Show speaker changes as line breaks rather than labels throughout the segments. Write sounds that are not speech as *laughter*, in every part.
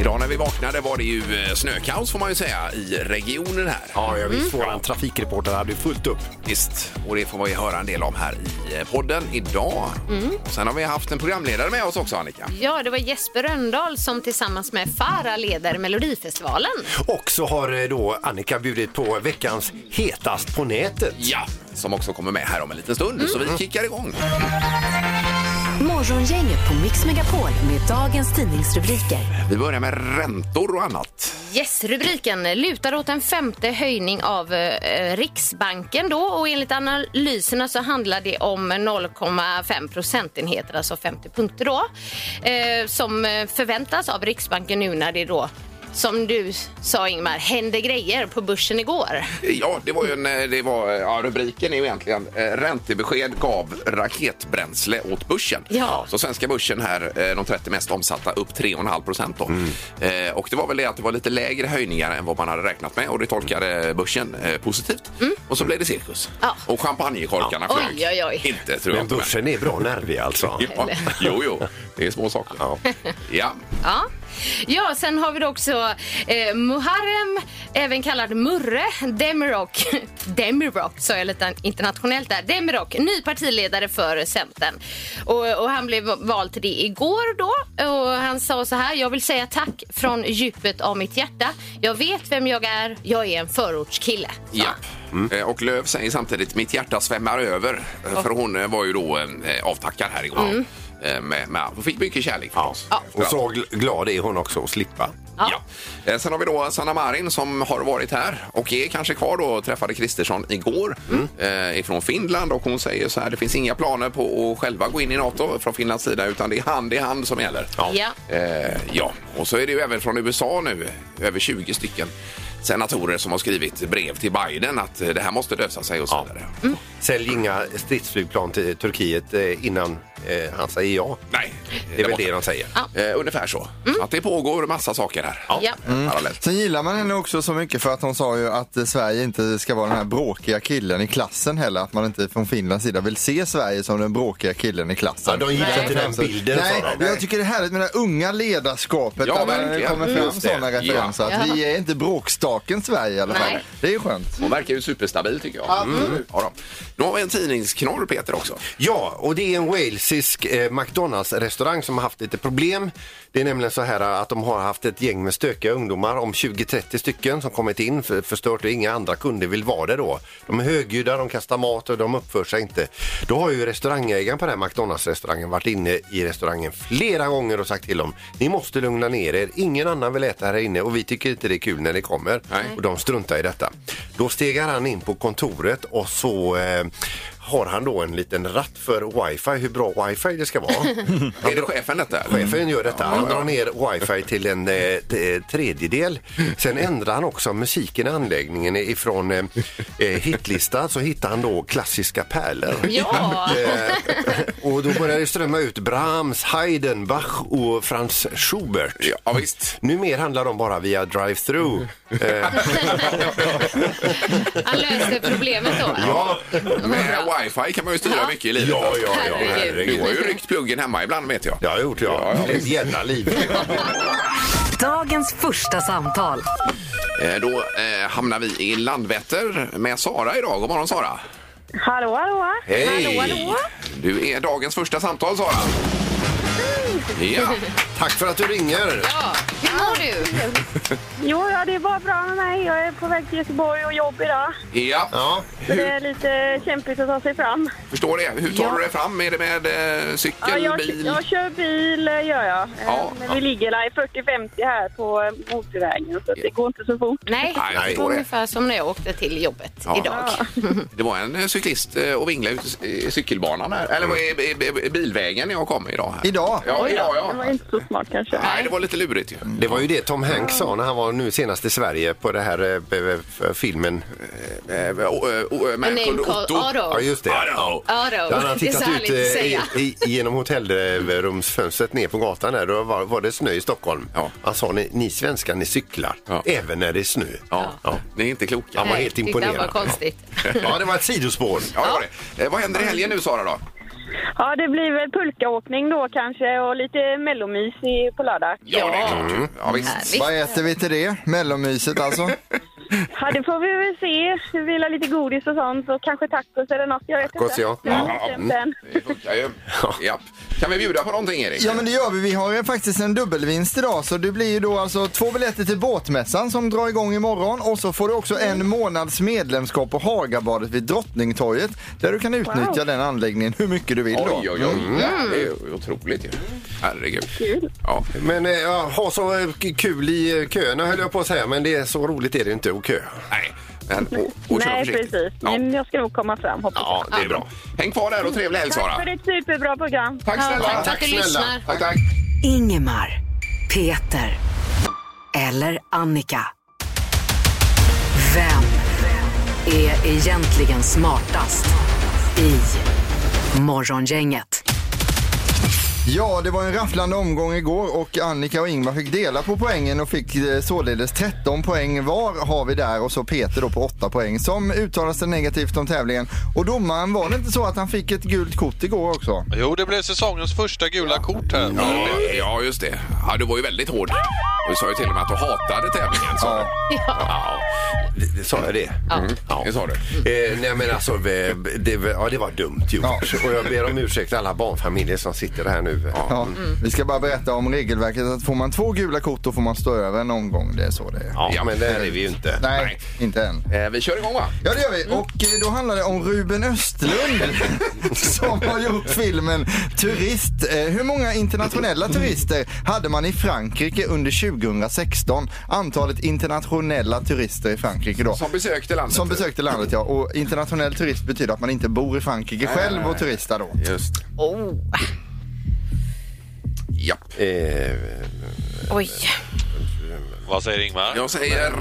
Idag när vi vaknade var det ju eh, snökaos får man ju säga i regionen här. Mm.
Ja, jag visst. Vår trafikreporter hade ju fullt upp.
Visst, och det får man ju höra en del om här i eh, podden idag. Och sen har vi haft en programledare med oss också Annika.
Ja, det var Jesper Rönndahl som tillsammans med Farah leder Melodifestivalen.
Och så har eh, då Annika bjudit på veckans hetast på nätet.
Ja, som också kommer med här om en liten stund. Så vi
Mm.
kickar igång.
Morgongänget på Mix Megapol med dagens tidningsrubriker.
Vi börjar med räntor och annat.
Yes, rubriken lutar åt en femte höjning av eh, Riksbanken då och enligt analyserna så handlar det om 0,5 procentenheter, alltså 50 punkter då, eh, som eh, förväntas av Riksbanken nu när det då som du sa Ingmar, hände grejer på börsen igår.
Ja, det var ju en, eh, det var, eh, ja, rubriken är ju egentligen eh, räntebesked gav raketbränsle åt börsen.
Ja.
Så svenska börsen här, eh, de 30 mest omsatta, upp 3,5 procent då. Eh, och det var väl det att det var lite lägre höjningar än vad man hade räknat med och det tolkade börsen eh, positivt. Och så blev det cirkus.
Mm. Ja.
Och champagnekorkarna
Ja.
flög.
Oj, oj, oj.
Inte tror jag.
Men börsen är bra nervig alltså.
Ja, jo, jo, det är små saker. Ja.
Ja. ja, sen har vi då också eh, Muharrem, även kallad Murre Demirok. *laughs* Demirok sa jag lite internationellt där. Demirok, ny partiledare för Centern. Och, och han blev vald till det igår då. Och han sa så här, jag vill säga tack från djupet av mitt hjärta. Jag vet vem jag är, jag är en förortskille.
Ja. Eh, Och Löv säger samtidigt mitt hjärta svämmar över. Eh, För hon eh, var ju då eh, avtackad här igår. Eh, Med, med, hon fick mycket kärlek förstås. Ja.
Och så gl- glad är hon också att slippa.
Ja. Eh, Sen har vi då Sanna Marin som har varit här och är kanske kvar då. Träffade Kristersson igår eh, ifrån Finland och hon säger så här. Det finns inga planer på att själva gå in i NATO från Finlands sida utan det är hand i hand som gäller.
Ja.
Eh, ja, och så är det ju även från USA nu, över 20 stycken senatorer som har skrivit brev till Biden att eh, det här måste lösa sig och så vidare.
Sälj inga stridsflygplan till Turkiet eh, innan eh, han säger ja.
Nej,
Det är väl
var-
det de säger.
Eh, ungefär så. Att det pågår massa saker här.
Ja.
Mm. Parallellt.
Sen gillar man henne också så mycket för att hon sa ju att eh, Sverige inte ska vara den här bråkiga killen i klassen heller. Att man inte från Finlands sida vill se Sverige som den bråkiga killen i klassen.
Ja, de gillar inte den
Så-
bilden, sa
Nej,
de.
jag tycker det är härligt med det här unga ledarskapet.
Ja,
där man
verkligen.
kommer
Mm.
fram
Just det.
sådana
Ja.
referenser. Att vi är inte bråkstaken Sverige i alla fall.
Nej.
Det är ju skönt.
Hon verkar ju superstabil tycker jag. Mm. Ja, då. Nu har vi en tidningsknorr Peter också.
Ja, och det är en walesisk eh, McDonalds-restaurang som har haft lite problem. Det är nämligen så här att de har haft ett gäng med stökiga ungdomar om 20-30 stycken som kommit in för, förstört och inga andra kunder vill vara där då. De är högljudda, de kastar mat och de uppför sig inte. Då har ju restaurangägaren på den här McDonalds-restaurangen varit inne i restaurangen flera gånger och sagt till dem ni måste lugna ner er, ingen annan vill äta här inne och vi tycker inte det är kul när ni kommer. Och de struntar i detta. Då stegar han in på kontoret och så eh, har han då en liten ratt för wifi, hur bra wifi det ska vara.
*laughs* Är det chefen detta?
Chefen gör detta. Han drar ner wifi till en eh, t- eh, tredjedel. Sen ändrar han också musiken i anläggningen ifrån eh, eh, hitlista så hittar han då klassiska pärlor.
Ja.
Eh, och då börjar det strömma ut Brahms, Haydn, Bach och Franz Schubert.
Ja, visst.
Numer handlar de bara via drive-through. Eh,
Han löste problemet då.
ja,
Med wifi kan man ju styra mycket i livet.
Ja,
alltså.
ja,
ja,
Du
herregud.
har ju ryckt pluggen hemma ibland vet jag.
det har jag gjort
Ja, ja,
ja. Ett jävla liv.
Dagens första samtal.
Eh, Då eh, hamnar vi i Landvetter med Sara idag. God morgon Sara.
Hallå, hallå.
Hej!
Hallå, hallå.
Du är dagens första samtal Sara.
Mm. *laughs*
Ja,
Tack för att du ringer.
Ja. Hur mår du?
Jo, ja, det är bara bra med mig. Jag är på väg till Göteborg och jobb idag.
ja.
Ja,
Så det är lite kämpigt att ta sig fram.
förstår det. Hur tar du dig fram? Är det med eh, cykel,
Ja, jag,
bil?
jag kör bil, eh, gör jag. Eh,
Ja,
Men
ja.
vi ligger där i 40-50 här på eh, motorvägen, så att det går inte så fort.
Nej,
Nej, jag
det
förstår
var
det.
ungefär som när jag åkte till jobbet
Ja.
idag.
Det var en eh, cyklist eh, och vinglade ut i cykelbanan här. Eller var det i- i- i bilvägen när jag kom idag. Här.
Idag?
Ja, idag
Det var
ja.
inte så smart kanske.
Nej, det var lite lurigt ju.
Det var ju det Tom Hanks sa när han var nu senast i Sverige på det här eh, b- b- filmen.
Eh, o- eh, o- eh,
A name
Merkel
call
Otto.
Otto.
Ja, just det.
Otto.
Ja, då.
Då hade han
Det är så
tittat ut
härligt att
eh, i,
säga.
i, genom hotellrumsfönstret ner på gatan där. Då var, var det snö i Stockholm.
Ja.
Han sa ni, ni svenskar ni cyklar
Ja.
även när det är snö.
Ja,
Ja.
ni är inte kloka.
Han var
Nej,
helt
tyckte
imponerad.
han var konstigt.
ja, det var ett sidospår.
Ja, det var det. Eh, vad händer i helgen nu Sara då?
Ja, det blir väl pulkaåkning då kanske och lite mellomys i- på lördag.
Ja.
det är klart. ju. Ja, visst.
Visst.
Vad äter vi till det? Mellonmyset alltså?
Ja, det får vi väl se. Vila lite godis och sånt och kanske tacos eller något. Jag vet
Tacos,
inte. Mm,
ja.
Det har
Ja, Mm.
inte
ja.
bestämt än.
Det funkar ju. Japp. Kan vi bjuda på någonting Erik?
Ja men det gör vi. Vi har ju faktiskt en dubbelvinst idag så det blir ju då alltså två biljetter till båtmässan som drar igång imorgon och så får du också en månads medlemskap på Hagabadet vid Drottningtorget där du kan utnyttja
Wow.
den anläggningen hur mycket du vill då. Mm.
Oj, oj, oj. Det är ju otroligt ju. Herregud. Ja.
Men eh, ja, ha så eh, k- kul i eh, köerna höll jag på att säga. Men det är så roligt är det inte att köa.
Nej, men och, och kör
Nej,
försiktigt.
precis.
Ja.
Men jag ska nog komma fram hoppas jag.
ja, det är bra. Häng kvar där och trevlig helg
Tack för
Sara.
ett superbra program.
Tack
Ja,
snälla.
tack för att du lyssnar.
Tack, tack.
Ingemar, Peter eller Annika. Vem är egentligen smartast i Morgongänget?
Ja, det var en rafflande omgång igår och Annika och Ingmar fick dela på poängen och fick eh, således 13 poäng var har vi där och så Peter då på 8 poäng som uttalade sig negativt om tävlingen. Och domaren, var det inte så att han fick ett gult kort igår också?
Jo, det blev säsongens första gula kort här.
Ja, ja, just det. Ja, du var ju väldigt hård. Du sa ju till och med att du hatade tävlingen. Sa du. Ja.
Det- det Sa jag det?
Mm, det sa du.
Eh, nej men alltså, eh, det, var- ja, det var dumt gjort.
Ja.
Och jag ber om ursäkt till alla barnfamiljer som sitter här nu.
Ja,
Mm.
Vi ska bara berätta om regelverket att får man två gula kort då får man stå över en omgång. Det är så det är.
ja men där är vi ju inte.
Nej,
Nej. Mm.
inte än.
Eh, Vi kör igång va?
Ja det gör vi och eh, då handlar det om Ruben Östlund
*laughs*
som har gjort filmen Turist. Eh, Hur många internationella turister hade man i Frankrike under 2016? Antalet internationella turister i Frankrike då.
Som besökte landet.
Som besökte landet ja och internationell turist betyder att man inte bor i Frankrike själv och turistar då.
Just.
*laughs* Oh,
Japp.
Eh,
oj.
Vad säger Ingmar?
Jag säger,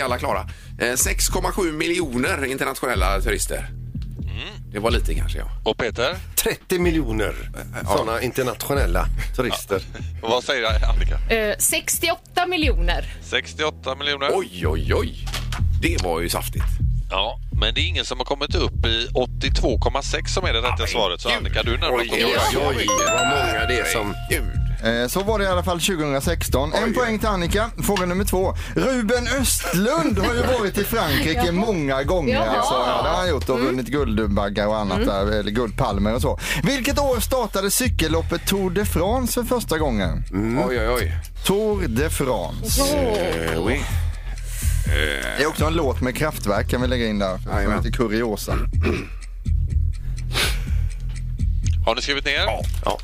är alla klara? Eh, 6,7 miljoner internationella turister.
Mm.
Det var lite kanske, ja.
Och Peter?
30 miljoner sådana internationella turister.
Vad säger Annika?
Eh, 68 miljoner.
68 miljoner.
Oj, oj, oj. Det var ju saftigt.
Ja, men det är ingen som har kommit upp i 82,6 som är det rätta svaret. Så Annika, du är närmast.
Oj, oj, oj.
Oj, vad många det är som...
Gud.
Eh, Så var det i alla fall 2016. En poäng till Annika. Fråga nummer två. Ruben Östlund har ju varit i Frankrike många gånger.
Jaha.
Alltså, ja, det har han gjort och vunnit Guldbaggar och annat där, eller Guldpalmer och så. Vilket år startade cykelloppet Tour de France för första gången?
Oj, oj, oj.
Tour de France.
Eh, oui.
Det är också en låt med Kraftwerk kan vi lägga in där. Som
Jajamän.
heter Kuriosa.
Har ni skrivit ner?
Ja. ja.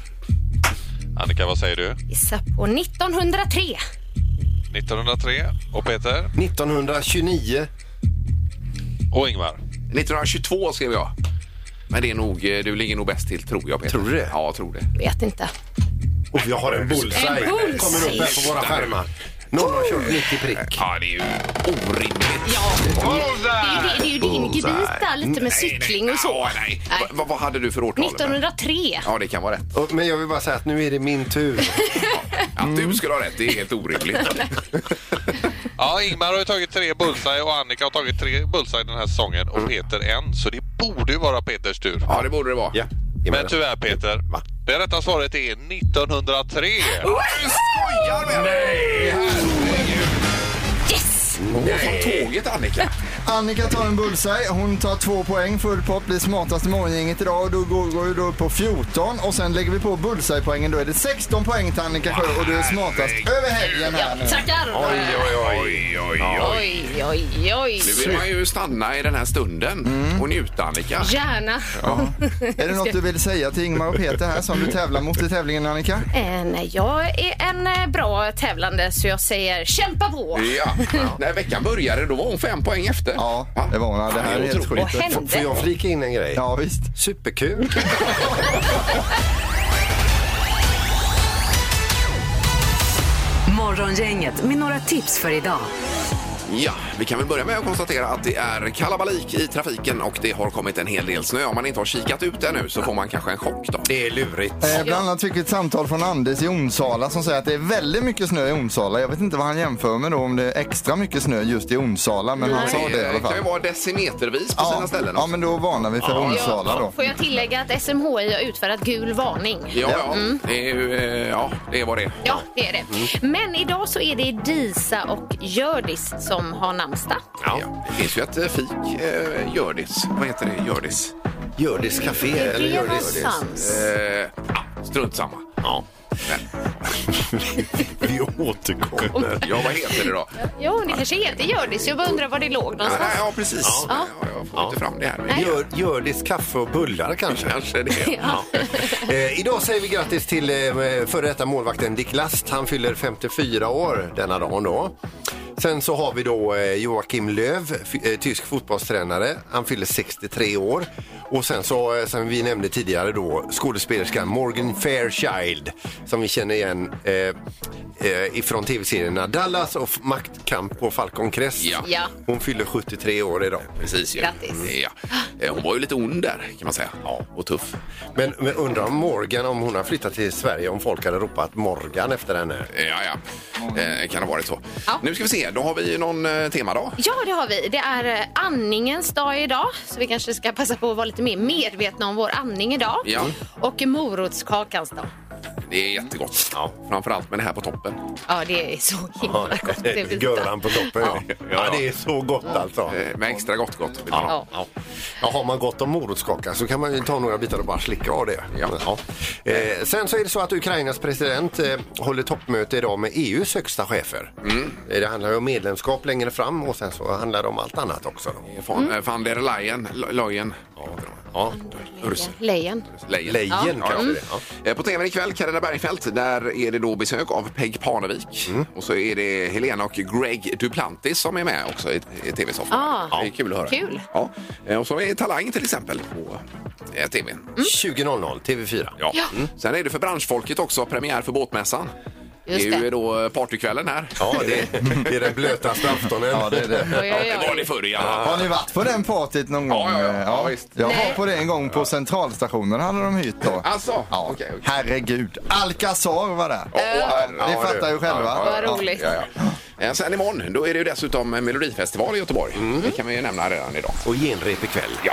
Annika, vad säger du?
Gissa på 1903.
1903. Och Peter?
1929.
Och Ingmar?
1922 skrev jag. Men det är nog, eh, du ligger nog bäst till, tror jag. Peter.
Tror du det?
Ja, jag tror det.
Vet inte.
Och jag har en bullseye.
En bullseye.
Kommer upp här på våra skärmar. Någon har kört 90 prick.
Ja, det är ju orimligt.
Ja. Det är ju, det, det är ju din gebit där, lite med cykling och så.
Ja, nej.
Nej.
Va- va- vad hade du för årtal?
1903.
Ja, det kan vara rätt.
Och- Men jag vill bara säga att nu är det min tur.
Att du skulle ha rätt, det är
*laughs*
helt orimligt.
Ja, Ingmar har ju tagit tre bullseye och Annika har tagit tre bullseye den här säsongen och Peter en. Så det borde ju vara Peters tur.
Ja, det borde det vara.
Ja.
Men tyvärr Peter, det rätta svaret är 1903.
Du skojar med mig!
Yes!
Hon går från tåget, Annika.
Annika tar en bullseye. Hon tar två poäng. Full pott blir smartast i morgongänget idag. Och då går, går ju då upp på 14. Och sen lägger vi på bullseye-poängen. Då är det 16 poäng till Annika Sjö. Och du är smartast över helgen här nu.
Tackar!
Oj, oj, oj, oj.
oj, oj. oj.
Nu vill man ju stanna i den här stunden
Mm.
och njuta, Annika.
Gärna.
Är det något du vill säga till Ingmar och Peter här som du tävlar mot i tävlingen Annika?
Eh, nej, jag är en eh, bra tävlande så jag säger kämpa på!
Ja.
*laughs*
När veckan började då var hon fem poäng efter.
Ja, det var hon. Det här är helt
otroligt.
Vad
sjukt.
Får- Får
hände?
jag flika in en grej?
Ja, visst.
Superkul.
Morgongänget Morgongänget med några tips för idag.
Ja, vi kan väl börja med att konstatera att det är kalabalik i trafiken och det har kommit en hel del snö. Om man inte har kikat ut ännu så får man kanske en chock då.
Det är lurigt.
Eh, bland annat fick vi ett samtal från Anders i Onsala som säger att det är väldigt mycket snö i Onsala. Jag vet inte vad han jämför med då om det är extra mycket snö just i Onsala, men han sa det i alla
Det kan ju
fall.
vara decimetervis på
Ja,
sina ställen.
ja,
också.
men då varnar vi för Onsala då.
Får jag tillägga att SMHI har utfärdat gul varning?
Ja, ja. Det är ju, eh, ja, det var det.
Ja, det är det.
Mm.
Men idag så är det Disa och Hjördis som har namnsdag.
Ja. Det finns ju ett eh, fik, eh, Hjördis. Vad heter det? Hjördis?
Hjördis Café
Det är
eller Hjördis...
någonstans.
Eh, ah, strunt samma. Ja.
Vi återkommer.
ja, vad heter det då?
Jo, det kanske heter Hjördis. Jag bara undrar var det låg
Ja,
någonstans.
ja precis. Ja.
Ja.
Jag får inte fram det här.
Nej.
Gör, Hjördis Kaffe och Bullar kanske?
Kanske det.
Ja.
*laughs* Eh, idag säger vi grattis till eh, före detta målvakten Dick Last. Han fyller 54 år denna dagen då. Sen så har vi då eh, Joakim Löw, f- eh, tysk fotbollstränare. Han fyller 63 år. Och sen så, eh, som vi nämnde tidigare då, skådespelerskan Morgan Fairchild som vi känner igen eh, eh, ifrån tv-serierna Dallas och F- Maktkamp och Falcon Crest.
Ja.
Ja.
Hon fyller 73 år idag.
Precis ju.
Grattis.
Ja. Eh, Hon var ju lite ond där kan man säga. Ja. Och tuff.
Men, men undrar om Morgan, om hon har flyttat till Sverige, om folk hade ropat Morgan efter henne.
Eh, Ja, ja. Eh, Kan ha varit så.
Ja.
Nu ska vi se. Då har vi ju någon eh, temadag.
Ja, det har vi. Det är eh, andningens dag idag, så vi kanske ska passa på att vara lite mer medvetna om vår andning idag.
Ja.
Och morotskakans dag.
Det är jättegott. Ja. Framförallt med det här på toppen.
Ja, det är så himla gott. Det finns-
Göran på toppen, ja. ja. det är så gott alltså.
Eh, Med extra gott gott. vill man ha.
Ja.
Ja, har man gott om morotskaka så kan man ju ta några bitar och bara slicka av det.
Ja.
Eh, sen så är det så att Ukrainas president eh, håller toppmöte idag med EUs högsta chefer. Eh, Det handlar ju om medlemskap längre fram och sen så handlar det om allt annat också. Då.
Fan, eh, Van der Leyen. L- Leyen.
Ja.
Ursel.
Lejon.
Lejen.
Lejen kanske
Ja. Ja, ja.
det är, ja.
Eh, På tvn ikväll, Carina Bergfeldt, där är det då besök av Peg Parnevik. Och så är det Helena och Greg Duplantis som är med också i, i tv-soffan.
Ah,
det är kul att höra.
kul.
Ja. Eh, Och så är Talang till exempel på eh, tvn.
20.00 TV4.
Ja. Mm. Sen är det för branschfolket också premiär för båtmässan.
Just
det är ju
det.
då eh, partykvällen här.
Ja,
*laughs*
det, det är den blötaste aftonen.
Ja, det är det.
Oj,
Ja,
oj,
det var det
oj.
förr ja.
Har ni varit på den partiet någon gång?
Ja, ja, ja.
Eh,
Ja, visst.
Jag
Nej.
var på det en gång på centralstationen hade de hyrt då.
Alltså,
Ja.
okej. okej.
Herregud, Alcazar var där.
Ja,
Ni fattar ju själva.
Vad roligt.
Ja, ja. Eh, Sen imorgon, då är det ju dessutom en melodifestival i Göteborg. Det kan vi ju nämna redan idag.
Och genrep ikväll.
Ja.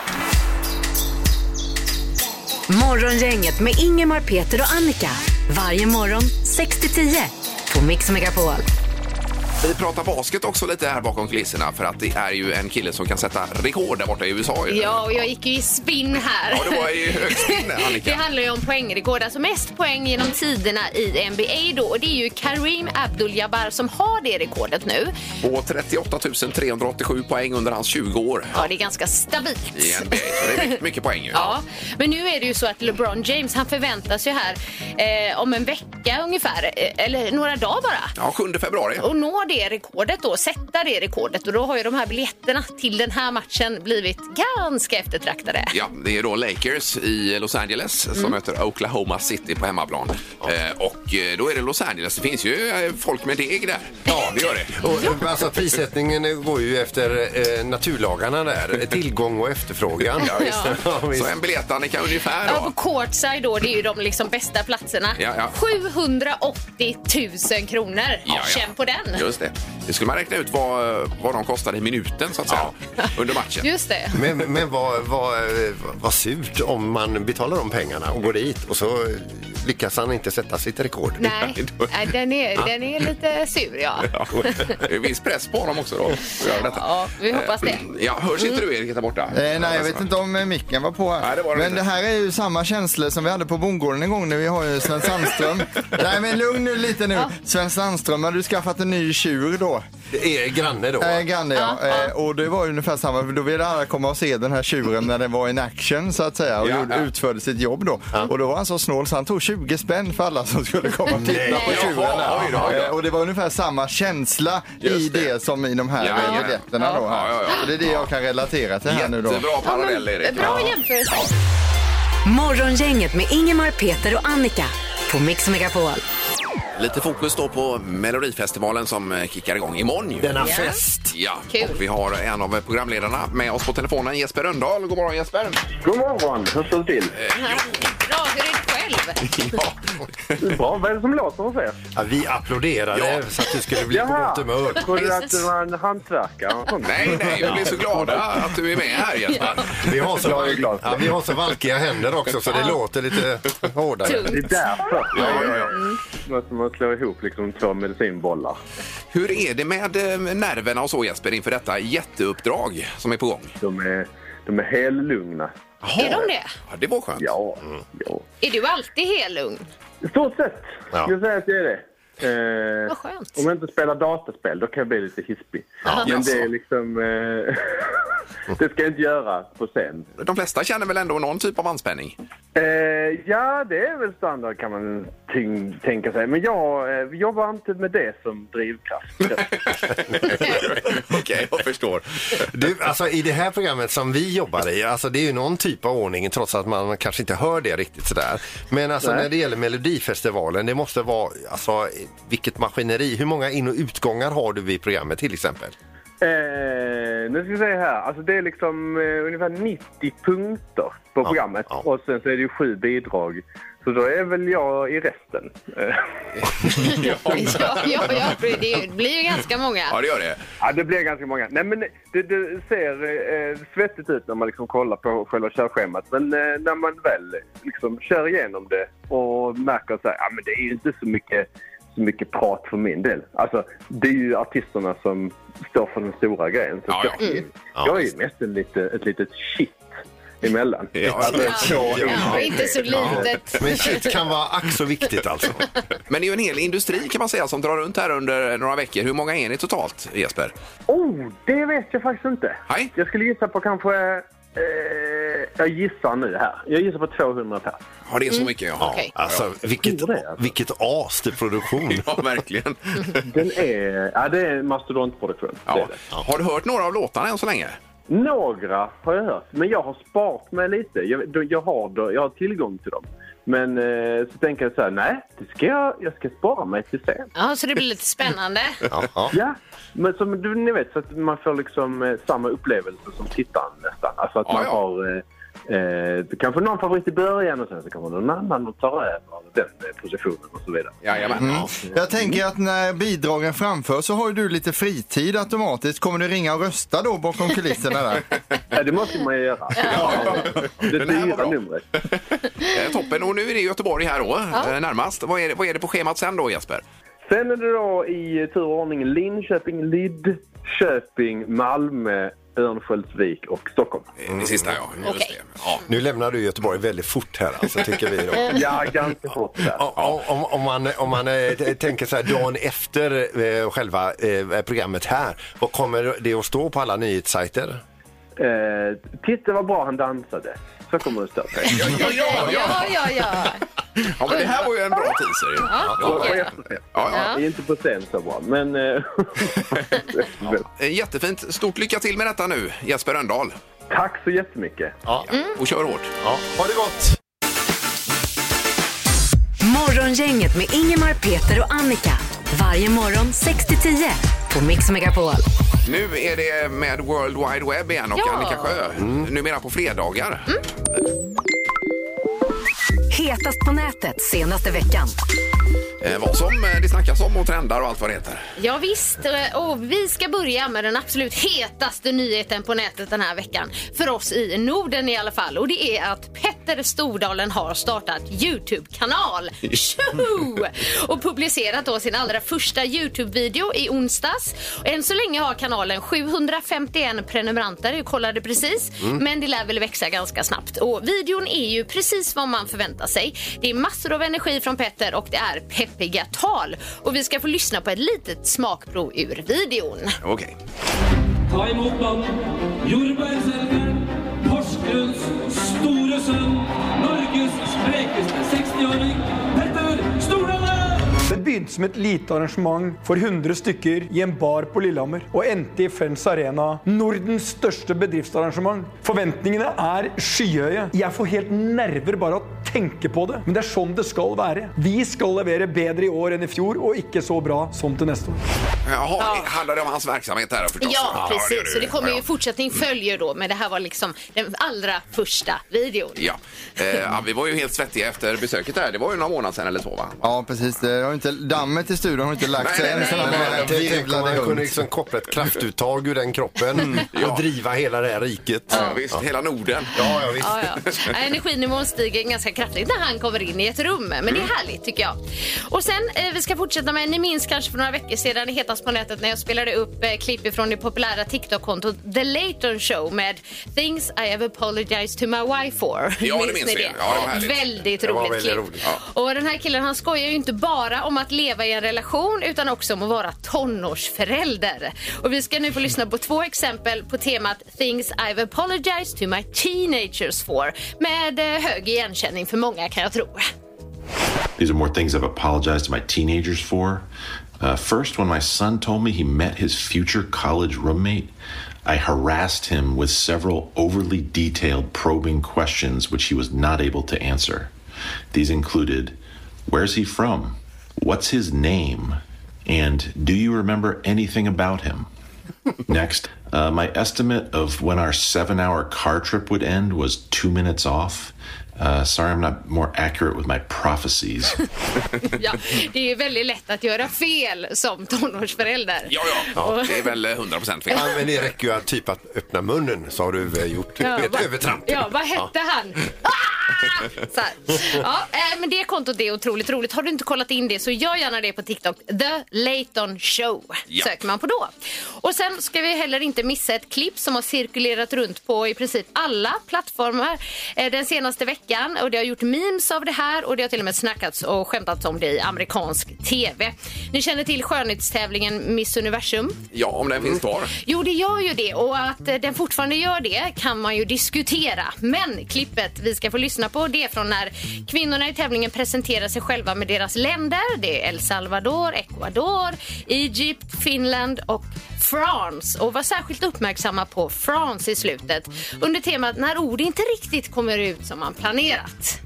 Morgongänget med Ingemar, Peter och Annika. Varje morgon 6 till 10 på Mix Megapol.
Vi pratar basket också lite här bakom kulisserna för att det är ju en kille som kan sätta rekord där borta i USA. ju.
Ja, och jag gick ju i spinn här.
Ja, det var i högspinn, Annika.
Det handlar ju om poängrekord, alltså mest poäng genom tiderna i NBA då. Och det är ju Kareem Abdul-Jabbar som har det rekordet nu.
Och 38 387 poäng under hans 20 år
Ja, det är ganska stabilt.
i NBA. Så det är mycket- mycket poäng
*laughs*
ju.
Ja, men nu är det ju så att LeBron James han förväntas ju här eh, om en vecka ungefär, eh, eller några dagar bara.
Ja, 7 februari.
Och nå det rekordet då, sätta det rekordet. Och då har ju de här biljetterna till den här matchen blivit ganska eftertraktade.
Ja, det är då Lakers i Los Angeles som
Mm.
möter Oklahoma City på hemmaplan. Eh, och eh, då är det Los Angeles. Det finns ju eh, folk med deg där. Ja, det gör det.
Och, eh, Alltså, prissättningen eh, går ju efter eh, naturlagarna där. Tillgång och efterfrågan. *laughs* Ja,
visst.
Så en biljett, Annika, ungefär
Ja, på
då.
courtside då, det är ju de liksom bästa platserna.
Ja, ja.
780 000 kronor.
ja.
Känn på den.
Just det. Det skulle man räkna ut vad, vad de kostade i minuten så att säga
*laughs*
under matchen.
Just det.
Men, men vad, vad, eh, vad surt om man betalar de pengarna och går dit och så lyckas han inte sätta sitt rekord.
*laughs*
Nej, nej, den är, den är lite sur ja.
Ja, det är eh, viss press på dem också då. att göra detta. Eh,
Ja, vi hoppas det. Mm.
Ja, hörs inte du Erik där borta?
Eh, nej, jag vet inte om eh, micken var på här.
Nej, det var det
men
inte.
det här är ju samma känslor som vi hade på bondgården en gång när vi har ju Sven
*laughs*
Sandström. nej, men lugn nu lite nu. Sven Sandström, hade du skaffat en ny tjur då?
Det är granne då.
Eh, granne, ja. Eh, och det var ju ungefär samma, för då ville alla komma och se den här tjuren när den var in action så att säga och
Ja,
gjorde,
ja.
utförde sitt jobb då. Och då var han så snål så han tog 20 spänn för alla som skulle komma och titta på
Jaha,
tjuren.
oj då, oj då.
Eh, Och det var ungefär samma känsla i
Just det.
det. som i de här
Ja,
eh,
ja.
biljetterna då. Här.
Ja, ja, ja.
Så det är det jag kan relatera till här nu då.
Jättebra parallell Erik.
Bra jämförelse.
Morgongänget med Ingemar, Peter och Annika på Mix Megapol.
Lite fokus då på Melodifestivalen som eh, kickar igång imorgon. ju.
Denna
Ja.
fest.
Ja,
Kul.
och vi har en av eh, programledarna med oss på telefonen, Jesper Röndahl. God morgon Jesper!
God morgon, hur står det till?
Bra, hur är det själv?
Ja,
Bra, vad är det som låter hos er?
Ja, vi applåderade
Ja.
så att du skulle bli på gott humör.
trodde du att du var en hantverkare och sånt?
*laughs* nej, nej, vi blir så glada att du är med här Jesper.
Vi har så,
Jag är glad.
ja, vi har så valkiga händer också så det låter lite hårdare.
Det är
Tungt.
därför. Mm.
Ja, ja, ja.
Det är som att slå ihop liksom två medicinbollar.
Hur är det med eh, nerverna och så Jesper inför detta jätteuppdrag som är på gång?
De är, de är helt lugna.
Är de det?
Ja, det var skönt.
Ja, ja.
Är du alltid helugn?
I stort sett
Ja.
skulle jag säga att det är det. Eh,
Vad skönt.
Om jag inte spelar dataspel, då kan jag bli lite hispig. Men
Alltså,
det är liksom... Eh, *laughs* det ska jag inte göra på scen.
De flesta känner väl ändå någon typ av anspänning?
Eh, ja, det är väl standard kan man tyng- tänka sig. Men jag eh, jobbar inte med det som
*laughs*
drivkraft.
*laughs* Okej, jag förstår.
Du, alltså, I det här programmet som vi jobbar i, alltså, det är ju någon typ av ordning trots att man kanske inte hör det riktigt sådär. Men alltså,
Nej.
när det gäller Melodifestivalen, det måste vara, alltså, vilket maskineri. Hur många in och utgångar har du i programmet till exempel?
Eh, nu ska vi se här. Alltså det är liksom eh, ungefär 90 punkter på programmet.
ja.
Och sen så är det ju sju bidrag. Så då är väl jag i resten. Eh,
*laughs* Ja, ja, ja, det blir ju ganska
Ja,
många.
det gör det.
ja, det blir ganska många. Nej, men det, det ser eh, svettigt ut när man liksom kollar på själva körschemat. Men eh, när man väl liksom kör igenom det och märker att ah, men det är ju inte så mycket, så mycket prat för min del. Alltså, det är ju artisterna som står för den stora grejen. Så
Ja, ja.
jag,
Ja,
jag är ju
visst.
mest en lite, ett litet shit emellan.
*laughs* Ja,
Ja, inte så litet.
Men shit kan vara ack så viktigt alltså.
Men det är ju en hel industri kan man säga som drar runt här under några veckor. Hur många är ni totalt, Jesper?
Oh, det vet jag faktiskt inte.
Nej.
Jag skulle gissa på kanske... Eh, jag gissar nu här. Jag gissar på 200 per.
Ja, det är så mycket. Ja,
Mm. Okej.
Alltså, vilket,
Tror det, alltså.
vilket as till produktion.
ja verkligen.
Mm.
Den är... Ja, det är en mastodontproduktion. Det är
Ja.
det.
Har du hört några av låtarna än så länge?
Några har jag hört, men jag har sparat mig lite. Jag, då- jag, har, då- jag har tillgång till dem. Men eh, så tänker jag så här, nej, det ska jag, jag ska spara mig till sen.
Ja, så det blir lite spännande.
Jaha.
Ja, men som du, ni vet så att man får liksom eh, samma upplevelse som tittaren nästan. Alltså att
Ja,
man
ja.
har eh, eh, kanske någon favorit i början och sen så kommer någon annan och tar över den eh, positionen och så vidare.
Jajamän.
Mm. Jag tänker att när bidragen framförs så har ju du lite fritid automatiskt. Kommer du ringa och rösta då bakom kulisserna där?
Ja, det måste man ju göra.
*laughs*
Det
Den här var
dyra
bra.
numret.
Eh, Toppen. Och nu är det Göteborg här då, eh, närmast. Vad är, det, vad är det på schemat sen då, Jesper?
Sen är det då i tur och ordning Linköping, Lidköping, Malmö, Örnsköldsvik och Stockholm.
Eh, Det sista, ja. Just
Okej.
det. Ja.
Nu lämnar du Göteborg väldigt fort här alltså, tycker vi. Då.
Ja, ganska fort där.
Ja, ja, Om, om man, om man eh, t- tänker så här dagen efter eh, själva eh, programmet här, vad kommer det att stå på alla nyhetssajter?
Eh, titta vad bra han dansade. Så kommer det stå.
Ja, ja, ja. ja.
ja, men det här var ju en bra teaser. ju. Ja,
Och, och
ja.
efterfest.
ja.
Det är inte på scen så bra, men... eh, *laughs*
Eh, Jättefint. Stort lycka till med detta nu, Jesper Röndahl.
Tack så jättemycket.
Mm.
Och kör hårt.
Ja, ha det gott!
Morgongänget med Ingemar, Peter och Annika. Varje morgon 6 till 10 på Mix Megapol.
Nu är det med World Wide Web igen och
Ja. Mm.
Annika Sjö. Numera på fredagar.
Hetast på nätet senaste veckan.
Eh, vad som eh, det snackas om och trendar och allt vad det heter.
Ja, visst, eh, och vi ska börja med den absolut hetaste nyheten på nätet den här veckan. För oss i Norden i alla fall. Och det är att Petter Stordalen har startat Youtube-kanal. Tjoho! Och publicerat då sin allra första Youtube-video i onsdags. Än så länge har kanalen 751 prenumeranter, jag kollade precis. Men det lär väl växa ganska snabbt. Och videon är ju precis vad man förväntar sig. Det är massor av energi från Petter och det är peppiga tal. Och vi ska få lyssna på ett litet smakprov ur videon.
Okej.
Ta imot mannen, jordbærselgeren, Porsgrunns store sønn, Norges sprekeste 60-åring, Petter Stordalen!
Det begynte som et lite arrangement for 100 stykker i en bar på Lillehammer, og endte i Friends Arena, Nordens største bedriftsarrangement. Forventningene er skyhøye. Jeg får helt nerver bare av tenke på det, men det er sånn det skal være. Vi skal levere bedre i år enn i fjor, og ikke så bra som til neste år.
Jaha, det handlar det om hans verksamhet här förstås?
Ja,
gör
precis. Så det kommer
Ja,
ju
ja.
i fortsättning följer då, men det här var liksom den allra första videon.
Ja. Eh,
*laughs*
ja, vi var ju helt svettiga efter besöket där. Det var ju några månader sedan eller så va?
Ja, precis. Det har inte, dammet i studion har inte lagt sig
Nej,
än.
nej,
så
nej,
den
nej,
här
nej.
Tänk om
drivlade
man kunde
hund.
liksom koppla ett kraftuttag ur den kroppen
Ja.
och driva hela det här riket.
Ja, visst, hela Norden.
Ja, ja, visst.
Ja, *laughs* ja. Ja, Energinivån stiger ganska kraftigt när han kommer in i ett rum. Men det
Mm.
är härligt tycker jag. Och sen, eh, vi ska fortsätta med, ni minns kanske för några veckor sedan det hetast på nätet när jag spelade upp eh, klipp från det populära TikTok-kontot The Layton Show med Things I have apologized to my wife for.
Ja, det minns vi. Ja, det var härligt.
väldigt
Det var
roligt
väldigt
klipp.
roligt.
Och den här killen han skojar ju inte bara om att leva i en relation utan också om att vara tonårsförälder. Och vi ska nu få lyssna på två exempel på temat Things I've apologized to my teenagers for med eh, hög igenkänning för många kan jag tro.
These are more things I've apologized to my teenagers for. Uh, first, when my son told me he met his future college roommate, I harassed him with several overly detailed probing questions which he was not able to answer. These included Where's he from? What's his name? And do you remember anything about him? Next, uh, my estimate of when our seven hour car trip would end was two minutes off. Uh, sorry, I'm not more accurate with my prophecies.
Ja, det är väldigt lätt att göra fel som tonårsförälder.
Ja, ja. Det är väl eh, 100 procent fel.
Ja, men det räcker ju att typ att öppna munnen så har du eh, gjort
Ja,
ett
va-
övertramp.
Ja, vad hette han? Ah! Så här. Ja, eh, men det kontot det är otroligt roligt. Har du inte kollat in det så gör gärna det på TikTok. The Layton Show
Ja.
söker man på då. Och sen ska vi heller inte missa ett klipp som har cirkulerat runt på i princip alla plattformar eh, den senaste veckan. Och det har gjort memes av det här och det har till och med snackats och skämtats om det i amerikansk TV. Ni känner till skönhetstävlingen Miss Universum.
Ja, om den finns kvar.
Jo, det gör ju det och att eh, den fortfarande gör det kan man ju diskutera. Men klippet vi ska få lyssna på det är från när kvinnorna i tävlingen presenterar sig själva med deras länder. Det är El Salvador, Ecuador, Egypt, Finland och France och var särskilt uppmärksamma på France i slutet under temat när ord inte riktigt kommer ut som man planerat.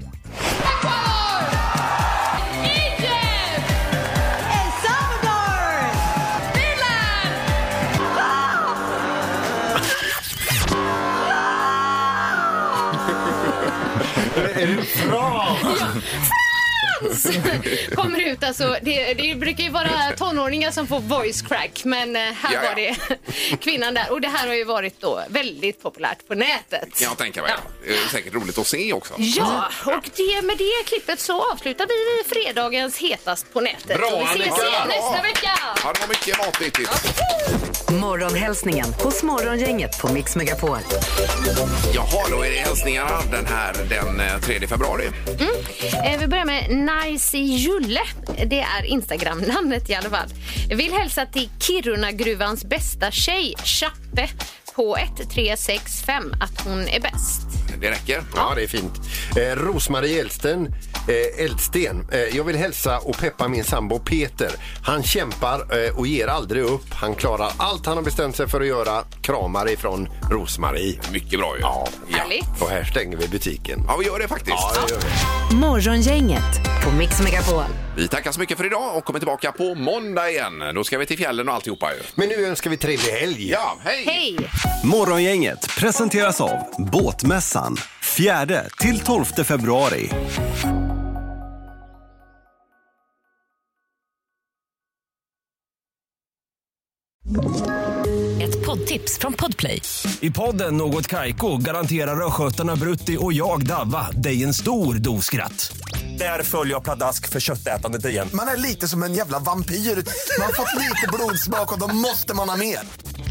*laughs* kommer ut. Alltså, det, det brukar ju vara tonåringar som får voice crack, men eh, här
Ja, ja.
var det *laughs* kvinnan där. Och det här har ju varit då väldigt populärt på nätet.
Kan jag tänka mig. Det är säkert roligt att se också.
Ja, och det, med det klippet så avslutar vi fredagens hetast på nätet.
Bra,
och vi ses
Annika!
igen nästa vecka!
Ja, det var mycket typ. matnyttigt.
Morgonhälsningen hos Morgongänget på Mix Megapol.
Jaha, då är det hälsningarna den här den eh, 3 februari.
Eh, Vi börjar med Nice Julle. Det är Instagram-namnet i alla fall. Vill hälsa till Kiruna-gruvans bästa tjej, Chappe, på 1365 att hon är bäst.
Det räcker.
Ja, det är fint. Eh, Rosmarie Elsten, eh, Eldsten. Eh, jag vill hälsa och peppa min sambo Peter. Han kämpar eh, och ger aldrig upp. Han klarar allt han har bestämt sig för att göra. Kramar ifrån Rosmarie.
Mycket bra ju.
Ja.
Härligt.
Och här stänger vi butiken.
Ja, vi gör det faktiskt.
Ja, det gör vi.
Morgongänget på Mix Megapol.
Vi tackar så mycket för idag och kommer tillbaka på måndag igen. Då ska vi till fjällen och alltihopa ju.
Men nu önskar vi trevlig helg.
Ja, hej!
Hej!
Morgongänget presenteras av Båtmässan 4 till 12 februari.
Ett poddtips från Podplay.
I podden Något Kaiko garanterar östgötarna Brutti och jag, Davva, dig en stor dos skratt. Där följer jag pladask för köttätandet igen.
Man är lite som en jävla vampyr. Man har fått lite blodsmak och då måste man ha mer.